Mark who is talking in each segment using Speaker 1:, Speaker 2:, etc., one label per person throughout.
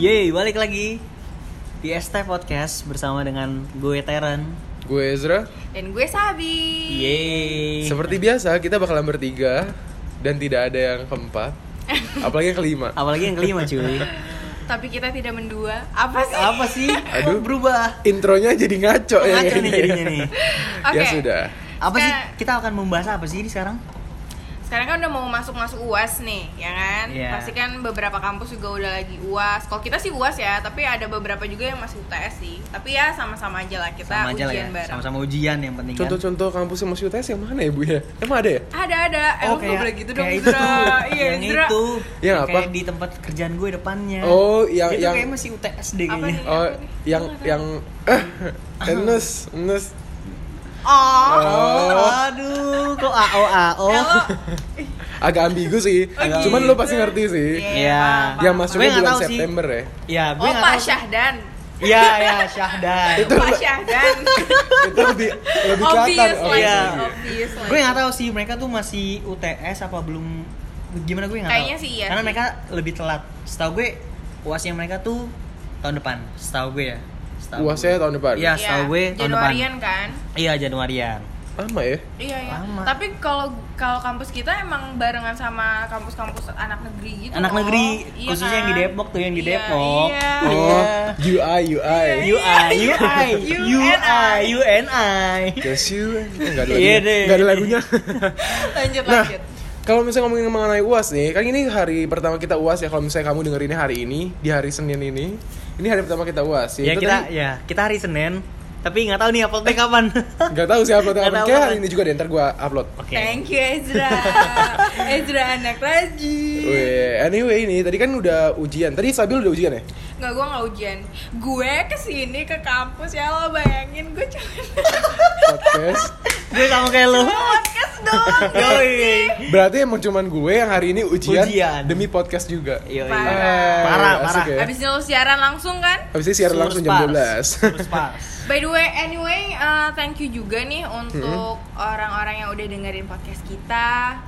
Speaker 1: Yeay, balik lagi di ST Podcast bersama dengan gue Teren.
Speaker 2: Gue Ezra.
Speaker 3: Dan gue Sabi.
Speaker 1: Iya. Yeay.
Speaker 2: Seperti biasa kita bakalan bertiga dan tidak ada yang keempat. Apalagi yang kelima.
Speaker 1: Apalagi yang kelima cuy.
Speaker 3: Tapi kita tidak mendua. Apa sih?
Speaker 1: Apa sih? Kok
Speaker 2: Aduh.
Speaker 1: berubah.
Speaker 2: Intronya jadi ngaco ya.
Speaker 1: Ngaco nih
Speaker 2: kayaknya.
Speaker 1: jadinya nih. Iya.
Speaker 3: Oke.
Speaker 2: Ya sudah.
Speaker 1: Apa sih?
Speaker 3: Sekarang-
Speaker 1: Kita akan membahas apa sih ini sekarang?
Speaker 3: Sekarang kan udah mau masuk-masuk UAS nih, ya kan?
Speaker 1: Iya.
Speaker 3: Pasti kan beberapa kampus juga udah lagi UAS. Kalau kita sih UAS ya, tapi ada beberapa juga yang masih UTS sih. Tapi ya sama-sama aja lah kita
Speaker 1: Sama aja lah ya.
Speaker 3: ujian bareng.
Speaker 1: Sama-sama ujian yang penting kan.
Speaker 2: Contoh-contoh kampus yang masih UTS yang mana ya Bu ya? Emang ada ya?
Speaker 3: Ada ada. Eh, lu nggak boleh gitu dong,
Speaker 1: Oh, kayak
Speaker 3: Zra. Iya,
Speaker 1: yang
Speaker 3: Zra.
Speaker 1: itu.
Speaker 2: Yang
Speaker 1: Yang
Speaker 2: Iya, apa?
Speaker 1: kayak di tempat kerjaan gue depannya.
Speaker 2: Oh, yang-
Speaker 1: Iya. itu
Speaker 2: yang-
Speaker 1: kayak masih UTS deh
Speaker 3: Apa
Speaker 1: kayaknya.
Speaker 3: nih?
Speaker 2: Oh,
Speaker 3: Apa nih?
Speaker 2: yang yang eh Enes, Enes.
Speaker 3: Oh.
Speaker 2: Oh,
Speaker 1: Aduh, kok AO AO.
Speaker 3: Eh, lo-
Speaker 2: agak ambigu sih.
Speaker 1: Agak
Speaker 2: Cuman
Speaker 1: ambigu.
Speaker 2: lo pasti ngerti sih.
Speaker 3: Iya.
Speaker 1: Iya.
Speaker 3: Apa?
Speaker 2: Yang
Speaker 1: Gue
Speaker 2: masuknya
Speaker 1: nggak
Speaker 2: bulan
Speaker 1: tahu sih.
Speaker 2: September ya.
Speaker 1: Ya, gue
Speaker 3: Oh,
Speaker 1: nggak
Speaker 3: Pak
Speaker 1: tahu.
Speaker 3: Syahdan.
Speaker 1: Iya, ya, Syahdan.
Speaker 3: Pak Syahdan.
Speaker 2: Itu lebih lebih kelihatan.
Speaker 3: obvious lah,
Speaker 1: Iya.
Speaker 3: itu, obvious lah.
Speaker 1: gue nggak tahu sih mereka tuh masih UTS apa belum gimana gue nggak tahu
Speaker 3: Kayaknya sih iya
Speaker 1: karena
Speaker 3: sih.
Speaker 1: mereka lebih telat setahu gue uasnya mereka tuh tahun depan setahu gue ya setahu
Speaker 2: Uasnya tahun depan.
Speaker 1: Iya.
Speaker 3: Iya,
Speaker 1: setahu gue tahun depan.
Speaker 3: Januarian kan?
Speaker 1: gue. iya Januarian
Speaker 2: Lama ya?
Speaker 3: Iya iya.
Speaker 1: Lama.
Speaker 3: Tapi kalau kalau kampus kita emang barengan sama kampus-kampus anak negeri gitu.
Speaker 1: anak
Speaker 3: loh.
Speaker 1: negeri
Speaker 3: Iya
Speaker 1: khususnya yang di
Speaker 3: kan?
Speaker 1: Depok tuh yang di
Speaker 3: Iya,
Speaker 1: Depok
Speaker 3: Iya.
Speaker 2: Oh, UI UI.
Speaker 1: Iya, UI UI UI
Speaker 3: UNI.
Speaker 1: UNI
Speaker 2: Guess you Enggak ada
Speaker 1: Iya
Speaker 2: lagunya
Speaker 1: deh.
Speaker 2: Nggak ada lagunya
Speaker 3: Lanjut
Speaker 2: Nah
Speaker 3: lanjut.
Speaker 2: kalau misalnya ngomongin mengenai UAS nih, kan ini hari pertama kita UAS ya. Kalau misalnya kamu dengerinnya hari ini, di hari Senin ini, ini hari pertama kita UAS.
Speaker 1: ya
Speaker 2: Itu
Speaker 1: kita
Speaker 2: tadi-
Speaker 1: ya kita hari Senin tapi nggak tahu nih uploadnya kapan
Speaker 2: nggak tahu sih upload
Speaker 1: Nggak
Speaker 2: kapan.
Speaker 1: tahu
Speaker 2: Kayak hari
Speaker 1: kapan.
Speaker 2: ini juga deh, ntar gue upload.
Speaker 1: oke
Speaker 3: Thank you Ezra. Ezra anak rajin.
Speaker 2: Weh, anyway ini tadi kan udah ujian. Tadi Sabil udah ujian ya?
Speaker 3: Nggak, gue nggak ujian. Gue kesini ke kampus ya lo bayangin gue cuma
Speaker 2: Podcast.
Speaker 1: gue sama kayak lo
Speaker 3: podcast dong.
Speaker 1: yoi
Speaker 2: Berarti emang cuman gue yang hari ini ujian,
Speaker 1: Ujian.
Speaker 2: demi podcast juga.
Speaker 1: yoi
Speaker 3: Parah.
Speaker 2: Eh,
Speaker 1: Parah,
Speaker 2: asik
Speaker 1: parah.
Speaker 2: ya.
Speaker 3: Abis ini lo siaran langsung kan?
Speaker 2: Habis ini siaran langsung jam 12.
Speaker 3: By the way, anyway, uh, thank you juga nih
Speaker 1: Hmm.
Speaker 3: untuk orang-orang yang udah dengerin podcast kita.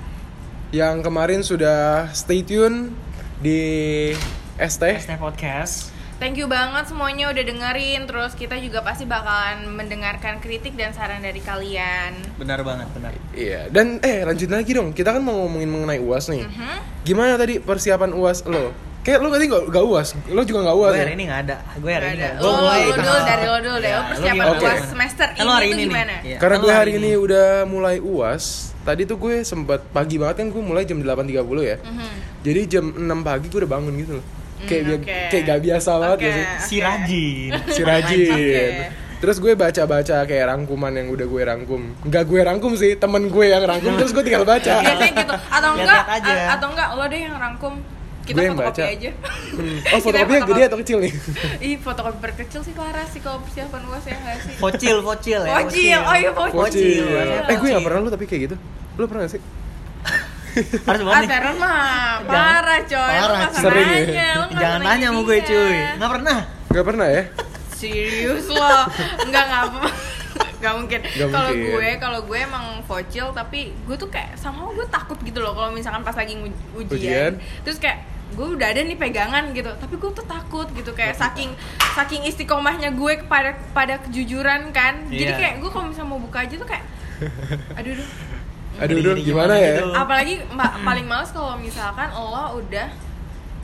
Speaker 2: yang kemarin sudah stay tune di ST.
Speaker 1: ST Podcast
Speaker 3: Thank you banget semuanya udah dengerin. Terus kita juga pasti bakalan mendengarkan kritik dan saran dari kalian.
Speaker 1: benar banget benar
Speaker 2: Iya, dan eh lanjut lagi dong. Kita kan mau ngomongin mengenai UAS nih.
Speaker 3: Hmm?
Speaker 2: Gimana tadi persiapan UAS lo? Kayak lo tadi gak, gak UAS, lo juga gak
Speaker 1: gue
Speaker 2: UAS ya?
Speaker 1: hari ini nggak ada gue hari ini
Speaker 3: Gak
Speaker 1: nggak ada.
Speaker 3: ada.
Speaker 1: Gua
Speaker 3: Lo-
Speaker 1: mulai
Speaker 3: lo
Speaker 1: tanggal-
Speaker 3: dulu dari lo dulu deh.
Speaker 1: Ya,
Speaker 3: Lo persiapan
Speaker 1: gimana?
Speaker 2: UAS
Speaker 3: semester
Speaker 1: Kan lo
Speaker 3: ini
Speaker 1: hari
Speaker 3: tuh
Speaker 1: nih.
Speaker 3: gimana?
Speaker 1: Iya.
Speaker 2: Karena
Speaker 1: Kan lo
Speaker 2: gue hari ini udah mulai UAS, tadi tuh gue sempat pagi banget kan gue mulai jam 8.30 ya.
Speaker 3: Mhm.
Speaker 2: Jadi jam 6 pagi gue udah bangun gitu loh. Kayak
Speaker 3: Hmm,
Speaker 2: bi-
Speaker 3: oke.
Speaker 2: kayak gak biasa banget ya
Speaker 3: Oke.
Speaker 2: sih.
Speaker 1: si rajin
Speaker 2: Si rajin.
Speaker 3: Oke.
Speaker 2: Terus gue baca-baca kayak rangkuman yang udah gue rangkum. Gak gue rangkum sih, temen gue yang rangkum terus gue tinggal baca.
Speaker 3: Biasanya gitu. Atau
Speaker 1: Lihat-lihat
Speaker 3: enggak?
Speaker 1: aja.
Speaker 3: a- atau enggak? Lo deh yang rangkum. Kita
Speaker 2: Gue yang
Speaker 3: fotokopi
Speaker 2: baca.
Speaker 3: aja.
Speaker 2: Hmm. Oh,
Speaker 3: Kita
Speaker 2: fotokopinya
Speaker 3: fotokopi.
Speaker 2: gede atau kecil nih?
Speaker 3: Ih, fotokopi perkecil sih Clara sih kalau persiapan UAS ya nggak sih?
Speaker 1: Focil, focil ya.
Speaker 3: Focil, oh iya, focil.
Speaker 2: Kecil. Eh, gue gak
Speaker 1: Focil.
Speaker 2: pernah lu tapi kayak gitu. Lu pernah gak sih?
Speaker 1: Harus
Speaker 3: Ah,
Speaker 1: banget nih.
Speaker 3: Teron mah parah coy. Lu
Speaker 1: Parah, cuy.
Speaker 3: nggak usah
Speaker 2: Sering ya?
Speaker 3: nanya, gitu ya? lu nggak
Speaker 1: Jangan
Speaker 3: usah
Speaker 1: nanya sama gue
Speaker 3: dia.
Speaker 1: cuy. Nggak pernah.
Speaker 2: Gak pernah ya?
Speaker 3: Serius lo? Enggak enggak apa. Gak mungkin.
Speaker 2: Nggak
Speaker 3: Kalau
Speaker 2: mungkin.
Speaker 3: gue, kalau gue emang focil tapi gue tuh kayak sama gue takut gitu loh kalau misalkan pas lagi ngu-
Speaker 2: Ujian.
Speaker 3: ujian. Terus kayak gue udah ada nih pegangan gitu, tapi gue tuh takut gitu kayak saking saking istiqomahnya gue kepada pada kejujuran kan. Jadi
Speaker 1: Iya.
Speaker 3: kayak gue kalau misalnya mau buka aja tuh kayak aduh duh.
Speaker 2: Aduh,
Speaker 1: Gini,
Speaker 2: aduh,
Speaker 1: gini, gimana
Speaker 2: gimana ya?
Speaker 1: gitu.
Speaker 3: apalagi ma- paling males kalau misalkan lo udah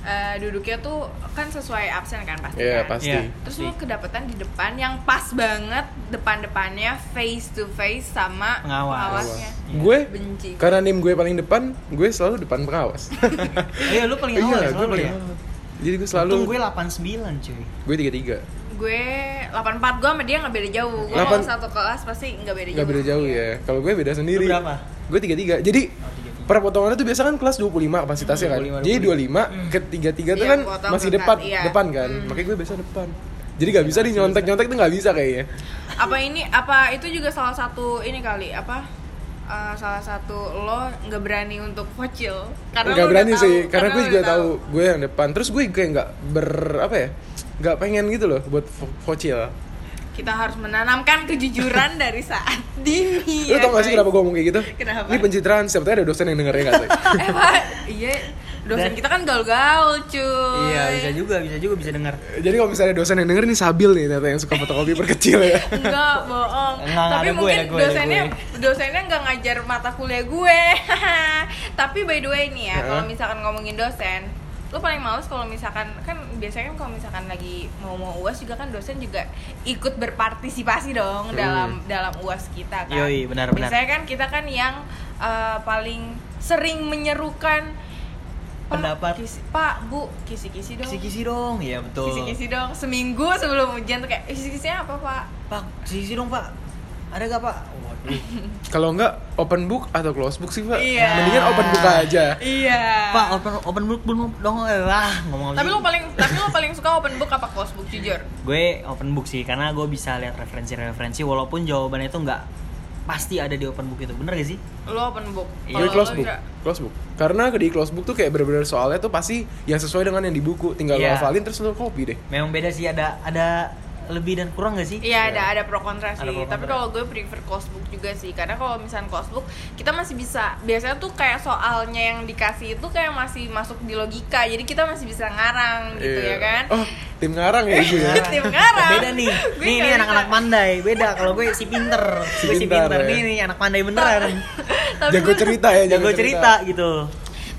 Speaker 3: eh, duduknya tuh kan sesuai absen kan pasti
Speaker 2: Iya,
Speaker 3: kan?
Speaker 2: pasti.
Speaker 1: Iya.
Speaker 3: terus lo kedapetan di depan yang pas banget depan depannya face to face sama
Speaker 1: Pengawas.
Speaker 3: pengawasnya
Speaker 2: Gue
Speaker 3: benci
Speaker 2: karena nim gue paling depan, gue selalu depan pengawas.
Speaker 1: Iya, lu paling awal ya
Speaker 2: gue
Speaker 1: selalu
Speaker 2: paling
Speaker 1: ya.
Speaker 2: awal. Jadi gue selalu
Speaker 1: Untung gue 89 cuy.
Speaker 2: gue tiga tiga,
Speaker 3: gue 84 gue sama dia nggak beda jauh gue
Speaker 2: Delapan-
Speaker 3: mau satu kelas pasti nggak beda
Speaker 2: nggak
Speaker 3: jauh
Speaker 2: beda jauh ya. Kalau gue beda sendiri.
Speaker 1: Lu berapa? Oh,
Speaker 2: Gue tiga tiga. Jadi per potongannya tuh biasa kan kelas 25
Speaker 1: Hmm,
Speaker 2: kapasitasnya kan.
Speaker 1: 25,
Speaker 2: Jadi
Speaker 1: Hmm.
Speaker 2: 25 ke 33 tuh
Speaker 3: Iya,
Speaker 2: kan
Speaker 3: potong
Speaker 2: masih
Speaker 3: ke
Speaker 2: depan
Speaker 3: kat- iya.
Speaker 2: depan kan. Makanya gue biasa depan. Jadi gak bisa di nyontek-nyontek tuh gak bisa kayaknya.
Speaker 3: apa ini apa itu juga salah satu ini kali apa eh, salah satu lo nggak berani untuk focil karena
Speaker 2: Gak
Speaker 3: lo udah
Speaker 2: berani
Speaker 3: tahu,
Speaker 2: sih, karena gue
Speaker 3: lo
Speaker 2: juga
Speaker 3: udah
Speaker 2: tahu gue yang depan. Terus gue kayak gak ber apa ya? Gak pengen gitu loh buat fo- focil.
Speaker 3: kita harus menanamkan kejujuran dari saat dini. ya
Speaker 2: Lu tau gak sih
Speaker 3: guys.
Speaker 2: kenapa gue ngomong kayak gitu?
Speaker 3: Iya, Kenapa?
Speaker 2: ya Ini pencitraan, siapa tahu ada dosen yang dengernya gak sih?
Speaker 3: Eh, Pak, iya, dosen
Speaker 1: Dan-
Speaker 3: kita kan gaul-gaul cuy
Speaker 1: Iya bisa juga, bisa juga bisa dengar.
Speaker 2: Jadi kalau misalnya dosen yang denger nih Sabil nih ternyata yang suka fotokopi perkecil ya.
Speaker 3: Enggak, bohong.
Speaker 1: Enggak, enggak,
Speaker 3: Tapi
Speaker 1: ada gue,
Speaker 3: mungkin
Speaker 1: ada gue, ada
Speaker 3: dosennya dosennya enggak ngajar mata kuliah gue. Tapi by the way nih ya,
Speaker 2: Heeh.
Speaker 3: kalau misalkan ngomongin dosen, lo paling males kalau misalkan kan biasanya kan kalau misalkan lagi mau mau uas juga kan dosen juga ikut berpartisipasi dong dalam dalam uas kita kan.
Speaker 1: Yoi, benar, benar.
Speaker 3: Biasanya kan kita kan yang eh, paling sering menyerukan "Pak,
Speaker 1: Pendapat.
Speaker 3: kisi- Pak, Bu, kisi-kisi dong.
Speaker 1: Kisi-kisi dong, iya betul.
Speaker 3: Kisi-kisi dong. Seminggu sebelum ujian tuh kayak kisi-kisinya apa, Pak?
Speaker 1: Pak, kisi-kisi dong pak. Ada gak pak? Waduh.
Speaker 2: Kalau enggak open book atau close book sih, Pak.
Speaker 3: Iya.
Speaker 2: Mendingan open book aja.
Speaker 3: Iya.
Speaker 1: Pak, open open book belum dong eh, lah ngomong apa
Speaker 3: Tapi
Speaker 1: sih?
Speaker 3: lo paling tapi lo paling suka open book apa close book jujur?
Speaker 1: gue open book sih karena gue bisa lihat referensi-referensi walaupun jawabannya itu nggak pasti ada di open book itu bener gak sih
Speaker 3: Lo open book.
Speaker 1: Iya.
Speaker 2: Gue
Speaker 3: Kalau
Speaker 2: close
Speaker 3: lo
Speaker 2: book.
Speaker 3: enggak-
Speaker 2: Close book. Karena di close book tuh kayak bener-bener soalnya tuh pasti yang sesuai dengan yang di buku. Tinggal lo
Speaker 1: Iya.
Speaker 2: hafalin terus lo copy deh.
Speaker 1: memang beda sih ada ada lebih dan kurang gak sih
Speaker 3: Iya ada ada pro kontra sih.
Speaker 1: Ada pro kontra.
Speaker 3: Tapi kalau gue prefer close book juga sih. Karena kalau misalnya close book kita masih bisa. Biasanya tuh kayak soalnya yang dikasih itu kayak masih masuk di logika. Jadi kita masih bisa ngarang gitu
Speaker 2: Iya.
Speaker 3: ya kan.
Speaker 2: Oh, tim ngarang ya ibu ya.
Speaker 3: Tim ngarang.
Speaker 1: Nah, beda nih nih
Speaker 3: Gue nggak
Speaker 1: ini
Speaker 3: bisa.
Speaker 1: anak-anak pandai beda kalau gue si pinter
Speaker 2: Si
Speaker 1: gue si
Speaker 2: pintar,
Speaker 1: pinter
Speaker 2: ya.
Speaker 1: nih nih anak pandai
Speaker 3: Eh,
Speaker 1: beneran
Speaker 3: Tapi
Speaker 2: Jago
Speaker 3: gue-
Speaker 2: cerita ya,
Speaker 1: jago cerita gitu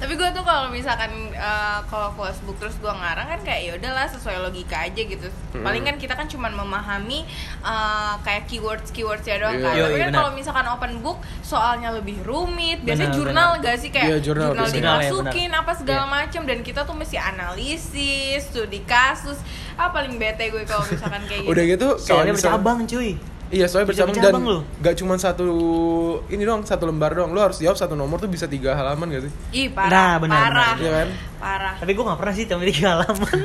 Speaker 3: tapi gue tuh kalau misalkan eh, kalau close book terus gue ngarang kan kayak ya udahlah sesuai logika aja gitu paling kan kita kan cuman memahami eh, kayak keywords keywords ya
Speaker 2: Iya.
Speaker 3: doang kan
Speaker 1: Iya,
Speaker 3: tapi
Speaker 1: iya,
Speaker 3: kan
Speaker 1: benar.
Speaker 3: kalau misalkan open book soalnya lebih rumit biasanya
Speaker 1: Benar,
Speaker 3: jurnal
Speaker 1: benar.
Speaker 3: gak sih kayak
Speaker 2: Iya, jurnal
Speaker 3: jurnal
Speaker 2: biasanya.
Speaker 3: dimasukin
Speaker 1: Jurnal ya,
Speaker 3: apa segala
Speaker 1: Iya.
Speaker 3: macam dan kita tuh mesti analisis studi kasus ah paling bete gue kalau misalkan kayak gitu
Speaker 2: Udah gitu kalau
Speaker 1: soalnya
Speaker 2: misalnya-
Speaker 1: bercabang cuy
Speaker 2: Iya, soalnya
Speaker 1: Bisa
Speaker 2: bercabang dan
Speaker 1: bercabang lo.
Speaker 2: gak cuma satu ini doang, satu lembar doang. Lo harus jawab satu nomor tuh bisa tiga halaman gak sih?
Speaker 3: ih parah
Speaker 1: Nah, benar,
Speaker 3: parah
Speaker 2: benar. Iya kan?
Speaker 3: parah
Speaker 1: tapi gue gak pernah sih tapi tiga halaman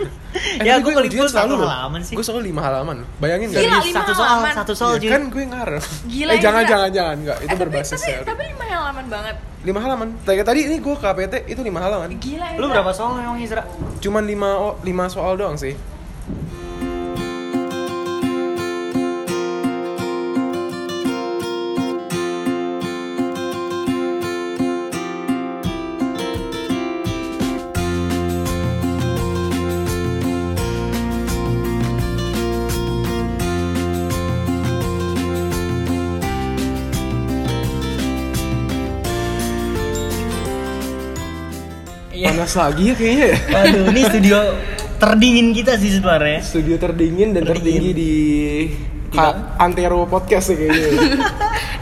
Speaker 2: Eh,
Speaker 1: ya
Speaker 2: tapi
Speaker 1: gue paling
Speaker 2: ujian
Speaker 1: full satu
Speaker 2: loh.
Speaker 1: halaman sih
Speaker 2: Gue selalu lima halaman. Bayangin gak?
Speaker 3: Gila,
Speaker 1: Serius,
Speaker 3: lima
Speaker 1: satu soal
Speaker 3: halaman. Iya
Speaker 1: satu soal
Speaker 2: Ya
Speaker 1: cuy
Speaker 2: kan gue ngarep.
Speaker 3: Gila,
Speaker 2: eh, jangan,
Speaker 3: gila.
Speaker 2: jangan, jangan, enggak. Itu
Speaker 3: Eh, tapi,
Speaker 2: berbasis
Speaker 1: ya,
Speaker 3: tapi,
Speaker 2: teori.
Speaker 3: tapi lima halaman banget
Speaker 2: Lima halaman. Tadi tadi ini gue KPT itu lima halaman.
Speaker 3: gila
Speaker 1: lu
Speaker 3: Ezra.
Speaker 1: berapa soal emang Isra
Speaker 2: Cuman lima o- lima soal doang sih. Panas lagi ya kayaknya. ya.
Speaker 1: Waduh, ini studio terdingin kita sih sebenarnya.
Speaker 2: Studio terdingin dan
Speaker 1: Terdingin. Iya.
Speaker 2: tertinggi di
Speaker 1: Tiga.
Speaker 2: Ka- Antero Podcast ya kayaknya.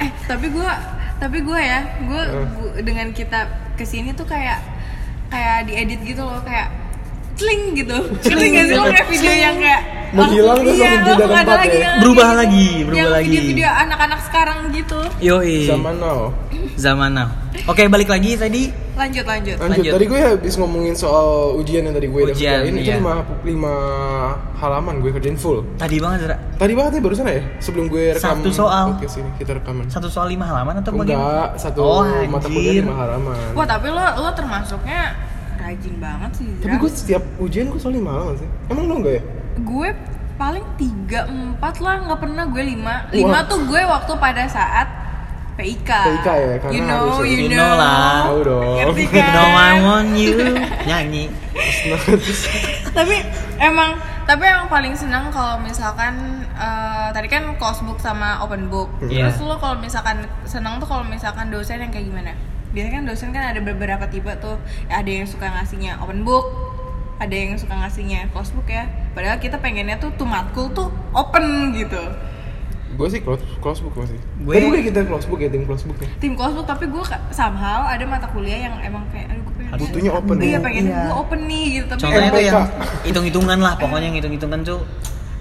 Speaker 3: eh tapi gue tapi gue ya gue dengan kita kesini tuh kayak kayak diedit gitu loh kayak cling gitu cling gak sih lo kayak video yang kayak
Speaker 2: Menghilang terus
Speaker 3: iya,
Speaker 2: langsung pindah
Speaker 3: langsung
Speaker 2: tempat
Speaker 3: ada
Speaker 2: ya?
Speaker 3: yang
Speaker 1: Berubah
Speaker 3: kayak
Speaker 1: lagi,
Speaker 3: gitu.
Speaker 1: berubah
Speaker 3: yang
Speaker 1: lagi.
Speaker 3: video-video anak-anak sekarang gitu
Speaker 1: Yoi.
Speaker 2: Zaman now.
Speaker 1: Zaman now. Oke, balik lagi tadi
Speaker 3: lanjut lanjut
Speaker 2: Lanjut.
Speaker 1: Lanjut.
Speaker 2: Tadi gue habis ngomongin soal ujian yang tadi gue udah
Speaker 1: Ujian,
Speaker 2: kerjain itu
Speaker 1: iya.
Speaker 2: lima, lima halaman gue kerjain full.
Speaker 1: tadi banget Zara.
Speaker 2: Tadi banget ya barusan ya sebelum gue rekam
Speaker 1: Satu soal.
Speaker 2: podcast ini kita rekaman.
Speaker 1: Satu soal lima halaman atau bagaimana?
Speaker 2: Enggak, satu
Speaker 1: Oh,
Speaker 2: mata
Speaker 1: anjir.
Speaker 2: kuliah lima halaman.
Speaker 3: wah tapi lo lo termasuknya rajin banget sih Zra.
Speaker 2: Tapi gue setiap ujian gue soal lima halaman sih. Emang lo enggak ya?
Speaker 3: gue paling tiga empat lah nggak pernah gue lima lima
Speaker 2: Wah.
Speaker 3: tuh gue waktu pada saat PIK
Speaker 2: PIK ya, karena
Speaker 3: you know
Speaker 2: harus ya.
Speaker 3: you
Speaker 1: You
Speaker 3: know,
Speaker 1: know lah.
Speaker 2: Tahu dong.
Speaker 3: Ngerti kan?
Speaker 1: No I want you nyanyi.
Speaker 3: tapi emang tapi emang paling senang kalau misalkan eh, tadi kan close book sama open book
Speaker 1: Iya.
Speaker 3: terus lo kalau misalkan senang tuh kalau misalkan dosen yang kayak gimana biasanya kan dosen kan ada beberapa tipe tuh Ya, ada yang suka ngasihnya open book ada yang suka ngasihnya close book ya padahal kita pengennya tuh tuh matkul tuh open gitu
Speaker 2: Gue sih close, close book masih.
Speaker 1: Gue-
Speaker 2: Gue Tadi gue kita close book ya tim close book ya.
Speaker 3: tim close book tapi gue ka- somehow ada mata kuliah yang emang kayak aduh gue pengen
Speaker 1: Harus-
Speaker 2: Butuhnya open
Speaker 3: iya
Speaker 2: ya.
Speaker 3: pengen
Speaker 1: Iya.
Speaker 3: gue open nih gitu tapi
Speaker 1: Contohnya
Speaker 3: emang
Speaker 1: tuh yang
Speaker 2: MPK.
Speaker 1: hitung-hitungan lah, pokoknya yang hitung-hitungan tuh